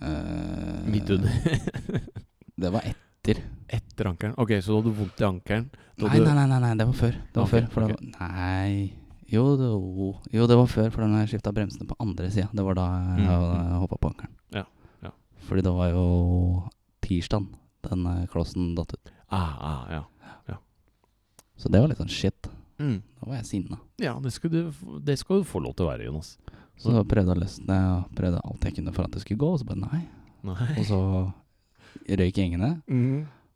Speaker 1: Eh,
Speaker 2: Midt under.
Speaker 1: Det var ett.
Speaker 2: etter ankelen. Ok, så du hadde vondt i ankelen? Da
Speaker 1: Nei,
Speaker 2: du-
Speaker 1: nei, nei, nei, nei, det var før. Det var
Speaker 2: Ok,
Speaker 1: før for
Speaker 2: ok.
Speaker 1: det var, nei jo, det var, jo, det var før, for da når jeg skifta bremsene på andre sida, det var da jeg,
Speaker 2: Mm.
Speaker 1: jeg hoppa på ankelen.
Speaker 2: Ja, ja.
Speaker 1: Fordi det var jo tirsdag den eh, klossen datt ut.
Speaker 2: Ah, ah, ja.
Speaker 1: Så det var litt sånn shit.
Speaker 2: Mm.
Speaker 1: Da var jeg sinna.
Speaker 2: Ja, det skal, du, f- det skal du få lov til å være, Jonas.
Speaker 1: Så jeg prøvde jeg å løsne og prøvde alt jeg kunne for at det skulle gå, og så bare nei.
Speaker 2: Nei.
Speaker 1: Og så røyk gjengene,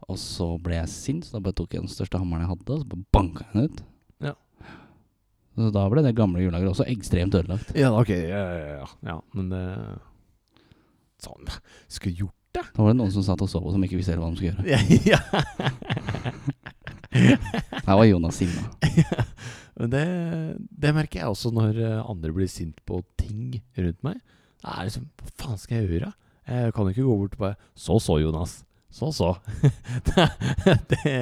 Speaker 1: og så ble jeg sint, så da bare tok jeg den største hammeren jeg hadde, og så bare banka jeg den ut.
Speaker 2: Ja.
Speaker 1: Så da ble det gamle hjullageret også ekstremt ødelagt.
Speaker 2: Ja, ok. Ja, ja, ja. ja men eh, Sånn. Skulle gjort
Speaker 1: Da var det noen som satt og så på som ikke visste helt hva de skulle gjøre.
Speaker 2: Ja, ja.
Speaker 1: Her var Jonas sinna.
Speaker 2: Men det, det merker jeg også når eh, andre blir sint på ting rundt meg. Det er liksom Hva faen skal jeg gjøre? Jeg kan jo ikke gå bort og bare Så så, Jonas. Så så. det, det,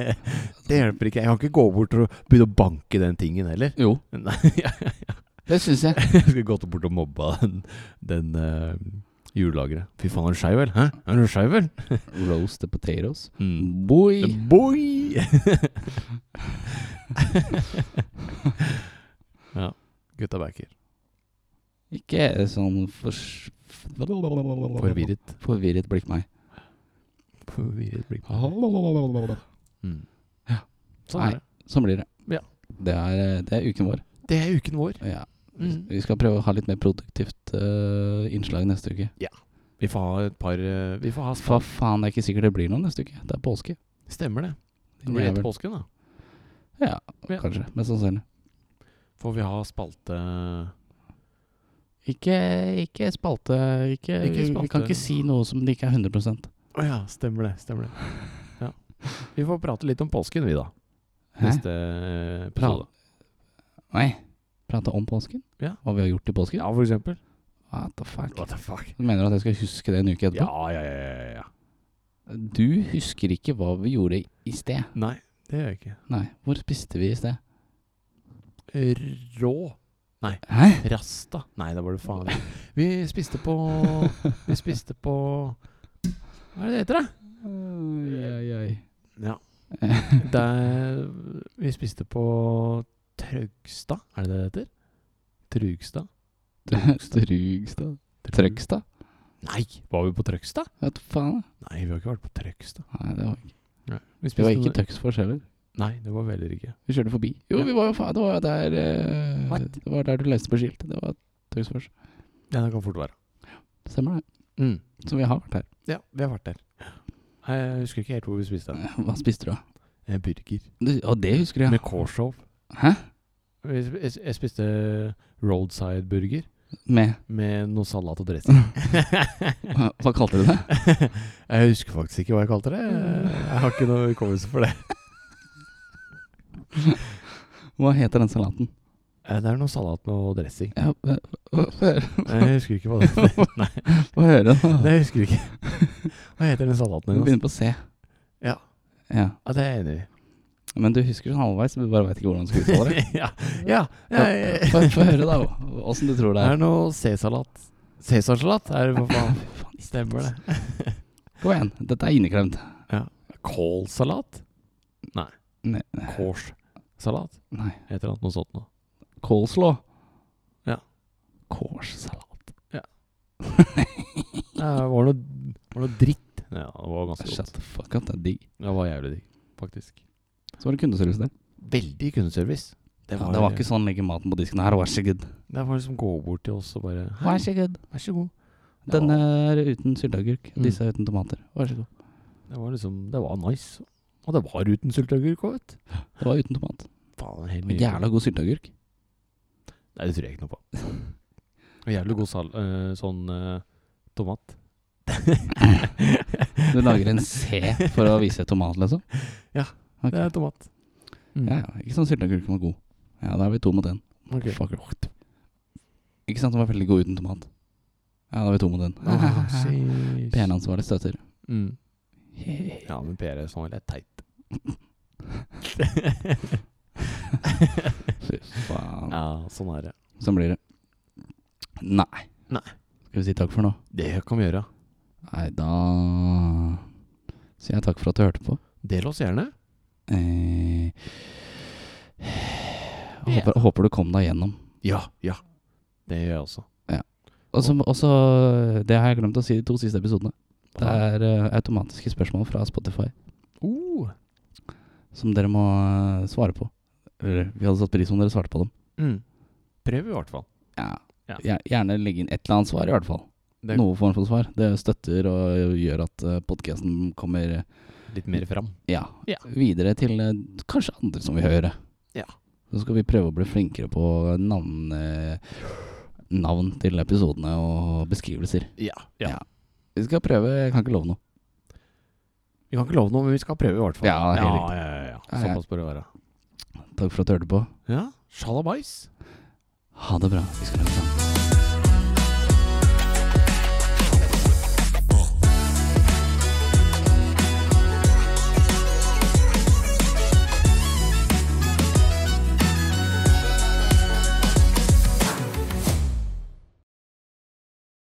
Speaker 2: det hjelper ikke. Jeg kan ikke gå bort og begynne å banke den tingen heller.
Speaker 1: Jo,
Speaker 2: Nei, jeg,
Speaker 1: det syns jeg.
Speaker 2: jeg skulle gått bort og mobba den, den eh, hjullageret. Fy faen, er du skeiv, vel? Hæ? Er du skeiv, vel?
Speaker 1: Roast the potatoes.
Speaker 2: Mm.
Speaker 1: Boy!
Speaker 2: Boy! ja. Gutta backer.
Speaker 1: Ikke sånn fors...
Speaker 2: Forvirret.
Speaker 1: Forvirret blikk meg.
Speaker 2: Forvirret blikk. Mm.
Speaker 1: Ja.
Speaker 2: Sånn
Speaker 1: Nei.
Speaker 2: er det.
Speaker 1: Sånn blir det.
Speaker 2: Ja.
Speaker 1: Det er, eh, det er uken vår.
Speaker 2: Det er uken vår.
Speaker 1: Ja.
Speaker 2: Mm.
Speaker 1: Vi skal prøve å ha litt mer produktivt eh, innslag neste uke.
Speaker 2: Vi får ha et par eh, Vi får ha
Speaker 1: Hva faen, det er ikke sikkert det blir noe neste uke. Det er påske.
Speaker 2: Stemmer det. Det
Speaker 1: Din
Speaker 2: blir
Speaker 1: jævel.
Speaker 2: etter påsken, da.
Speaker 1: Ja,
Speaker 2: Ja.
Speaker 1: kanskje. Mest sannsynlig.
Speaker 2: Får vi ha spalte
Speaker 1: Ikke, ikke spalte ikke,
Speaker 2: Ikke
Speaker 1: Vi
Speaker 2: spalte.
Speaker 1: kan ikke si noe som det ikke er 100
Speaker 2: Å ja, stemmer det. Stemmer det. Ja. Vi får prate litt om påsken, vi, da.
Speaker 1: Hæ?
Speaker 2: Neste eh, episode.
Speaker 1: Nei. Prate om påsken?
Speaker 2: Ja.
Speaker 1: Hva vi har gjort i påsken?
Speaker 2: Ja, for eksempel.
Speaker 1: What the fuck?
Speaker 2: the fuck?
Speaker 1: Du mener at jeg skal huske det en uke etterpå?
Speaker 2: Ja, ja, ja. ja, ja.
Speaker 1: Du husker ikke hva vi gjorde i sted.
Speaker 2: Nei, det gjør jeg ikke.
Speaker 1: Nei. Hvor spiste vi i sted?
Speaker 2: Rå.
Speaker 1: Hæ?
Speaker 2: Rasta. Nei, da var det faen Vi spiste på Vi spiste på Hva er det det heter, da?
Speaker 1: Oi, oi, oi.
Speaker 2: Ja. Der, vi spiste på Trøgstad, er det det det heter? Trugstad?
Speaker 1: Strugstad? Trøgstad?
Speaker 2: Nei, var vi på Trøgstad?
Speaker 1: Vet du faen.
Speaker 2: Nei, vi har ikke vært på Trøgstad.
Speaker 1: Nei, det var,
Speaker 2: Vi
Speaker 1: det var
Speaker 2: noe-
Speaker 1: ikke Tøxfors heller.
Speaker 2: Nei, det var veldig ikke.
Speaker 1: Vi kjørte forbi. Jo,
Speaker 2: Ja.
Speaker 1: vi var jo faen Det var jo der eh,
Speaker 2: What?
Speaker 1: Det var der du leste på skilt. Det var Tøxfors.
Speaker 2: Ja, det kan fort være.
Speaker 1: Stemmer det.
Speaker 2: Mm.
Speaker 1: Så vi har vært her.
Speaker 2: Ja, vi har vært der. Jeg husker ikke helt hvor vi spiste den.
Speaker 1: Hva spiste du, da?
Speaker 2: En burger
Speaker 1: Du, og det husker du,
Speaker 2: med
Speaker 1: ja.
Speaker 2: kårshov.
Speaker 1: Hæ?
Speaker 2: Jeg sp- Jeg jeg spiste roadside-burger
Speaker 1: Med
Speaker 2: med noe salat og dressing.
Speaker 1: Hva hva kalte du det?
Speaker 2: jeg husker faktisk ikke hva jeg kalte det. Jeg har ikke noe hukommelse for det.
Speaker 1: Hva heter den salaten?
Speaker 2: Eh, Det er noe salat med dressing.
Speaker 1: Ja, hva- hva- Få høre-
Speaker 2: Jeg husker ikke hva det heter. Nei,
Speaker 1: få høre,
Speaker 2: det
Speaker 1: da.
Speaker 2: husker jeg ikke. Hva heter den salaten?
Speaker 1: Vi
Speaker 2: igjen, ass?
Speaker 1: begynner på C.
Speaker 2: Ja.
Speaker 1: ja.
Speaker 2: Ja, det er jeg enig i.
Speaker 1: Men du husker sånn halvveis, men du bare veit ikke hvordan du skal uttale det.
Speaker 2: ja. ja. ja, ja,
Speaker 1: Få få høre, da, åssen du tror det
Speaker 2: Det er
Speaker 1: er.
Speaker 2: noe C-salat. Cæsarsalat er det, hva faen?
Speaker 1: Faen,
Speaker 2: Stemmer det.
Speaker 1: Kom igjen, dette er inneklemt.
Speaker 2: Kålsalat? Nei.
Speaker 1: Nei.
Speaker 2: Kårssalat
Speaker 1: Nei.
Speaker 2: heter det. Noe sånt noe.
Speaker 1: Coleslaw.
Speaker 2: Ja.
Speaker 1: Kårssalat.
Speaker 2: Det var noe, var noe dritt. Ja, det var ganske
Speaker 1: Shut
Speaker 2: godt.
Speaker 1: the fuck up, det er digg.
Speaker 2: Det var jævlig digg, faktisk.
Speaker 1: Så var det kundeservice der.
Speaker 2: Veldig kundeservice.
Speaker 1: Det var, det var ikke sånn legge maten på disken her, vær så god.
Speaker 2: Det var liksom gå bort til oss og bare
Speaker 1: Vær så god.
Speaker 2: vær så god. eh, Det
Speaker 1: Denne
Speaker 2: var,
Speaker 1: er uten sylteagurk.
Speaker 2: Mm.
Speaker 1: Disse er uten tomater. Vær så god.
Speaker 2: det var liksom Det var nice. Og det var uten sylteagurk òg, vet du.
Speaker 1: Det var uten tomat.
Speaker 2: Faen, helt
Speaker 1: Og Jævla god sylteagurk.
Speaker 2: Nei, det tror jeg ikke noe på. Og jævlig god sal... eh, sånn eh, tomat.
Speaker 1: Du lager en C for å vise tomat, liksom?
Speaker 2: Ja,
Speaker 1: Ok.
Speaker 2: Det er tomat. Mm.
Speaker 1: Ja, ja. Ikke sånn sylteagurken var god. Ja, da er vi to mot én.
Speaker 2: Ok.
Speaker 1: Fuck. Ikke sant, den var veldig god uten tomat. Ja, da er vi to mot én.
Speaker 2: Åh, sheesh.
Speaker 1: PR-ansvarlig støtter.
Speaker 2: Mm.
Speaker 1: Ja.
Speaker 2: Ja, men PR er sånn litt teit.
Speaker 1: Fy faen.
Speaker 2: Ja, sånn er det.
Speaker 1: Sånn blir det. Nei.
Speaker 2: Nei.
Speaker 1: Skal vi si takk for nå?
Speaker 2: Det kan vi gjøre.
Speaker 1: Nei, da sier jeg takk for at du hørte på.
Speaker 2: Del oss gjerne.
Speaker 1: Eh, håper, håper du kom deg gjennom.
Speaker 2: Ja, ja. Det gjør jeg også.
Speaker 1: Og så- Og så Det har jeg glemt å si de to siste episodene. Det er eh, automatiske spørsmål fra Spotify
Speaker 2: Oh.
Speaker 1: som dere må eh, svare på. Eller, Vi hadde satt pris om dere svarte på dem.
Speaker 2: Mm. Prøv i hvert fall.
Speaker 1: Ja.
Speaker 2: Ja.
Speaker 1: Gjer- Gjerne legge inn et eller annet svar, i hvert fall.
Speaker 2: Det
Speaker 1: Noe form for svar. Det støtter og gjør at podkasten kommer eh,
Speaker 2: litt mer fram.
Speaker 1: ja,
Speaker 2: Ja.
Speaker 1: videre til eh, kanskje andre som vil høre.
Speaker 2: Ja.
Speaker 1: Så skal vi prøve å bli flinkere på navn, eh, navn til episodene og beskrivelser.
Speaker 2: Ja,
Speaker 1: ja. Vi skal prøve, jeg kan ikke love noe.
Speaker 2: Vi kan ikke love noe, men vi skal prøve i hvert fall.
Speaker 1: Ja, helt
Speaker 2: ja,
Speaker 1: riktig.
Speaker 2: ja, ja, ja.
Speaker 1: Ja, ja.
Speaker 2: Såpass bør det være.
Speaker 1: Takk for at du hørte på.
Speaker 2: Ja. Sjalabais.
Speaker 1: Ha det bra. Vi skal lage sammen.